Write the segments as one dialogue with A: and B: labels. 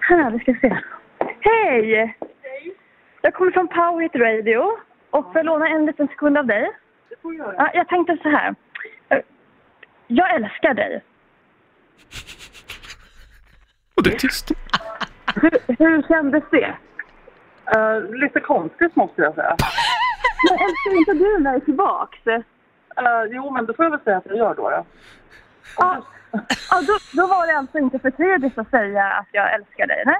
A: här, vi ska se. Hej! Jag kommer från Power Hit Radio och får jag låna en liten sekund av dig? Ja, jag tänkte så här. Eh, Jag älskar dig.
B: Och det är tyst.
C: Hur, hur kändes det? Eh, lite konstigt måste jag säga.
A: Men älskar inte du mig tillbaks?
C: Eh, jo, men då får jag väl säga att jag gör då. då. Ah!
A: Ja, ja då, då var det alltså inte för tidigt att säga att jag älskar dig. Nej,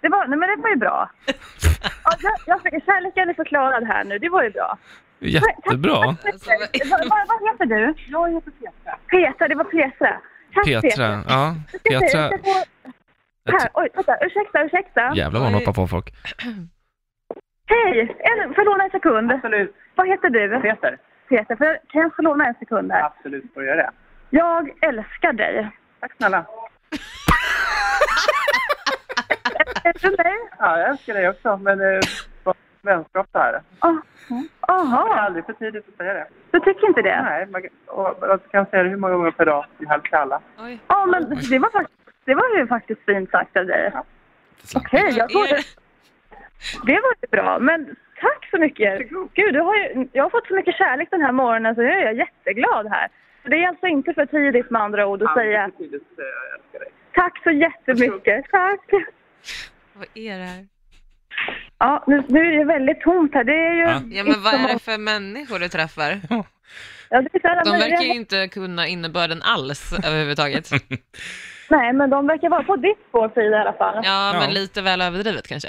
A: det var, nej men det var ju bra. Ja, jag, jag fick kärleken är förklarad här nu, det var ju bra.
B: Jättebra.
D: Alltså, vad-
A: Vad, vad, vad heter du?
C: Jag heter Petra.
A: Petra, det var Petra. Tack
B: Petra. Ja,
A: Ska se,
B: Petra.
A: jag ska få- Här, oj, vänta, ursäkta, ursäkta.
B: Jävlar vad hon hoppar på folk.
A: Hej, en, får jag låna en sekund?
C: Absolut.
A: Vad heter du?
C: Peter.
A: Peter, får jag, kan jag få låna en sekund här?
C: Absolut, får jag göra det.
A: Jag älskar dig.
C: Tack snälla.
A: Är du mig?
C: Ja, jag älskar dig också, men det är bara vänskap det här. Det är
A: Jaha,
C: aldrig för tidigt att säga det.
A: Ah, mm. du tycker inte det?
C: Nej, man och, och, kan säga det hur många gånger per dag som helst till alla.
D: Oj.
A: Ja, men det var, fakt- det var ju faktiskt fint sagt av dig. Okej, jag
D: Vad
A: trodde...
D: är det?
A: Det var ju bra, men tack så mycket. Gud, du har ju, jag har fått så mycket kärlek den här morgonen så jag är jätteglad här. Det är alltså inte för tidigt med andra ord att säga
C: Aldrig för tidigt att säga jag älskar dig.
A: tack så jättemycket. Tack!
D: Vad är det här?
A: Ja, nu, nu är det väldigt tomt här. Det är ju...
B: Ja.
D: Ja, men vad
A: inte
D: är det
A: många-
D: för människor du träffar?
A: Ja, det är så här-
D: De verkar ju inte kunna innebörden alls överhuvudtaget.
A: Nej, men de verkar vara på ditt spår, Frida, i alla fall.
D: Ja,
B: Ja.
D: men lite väl överdrivet kanske.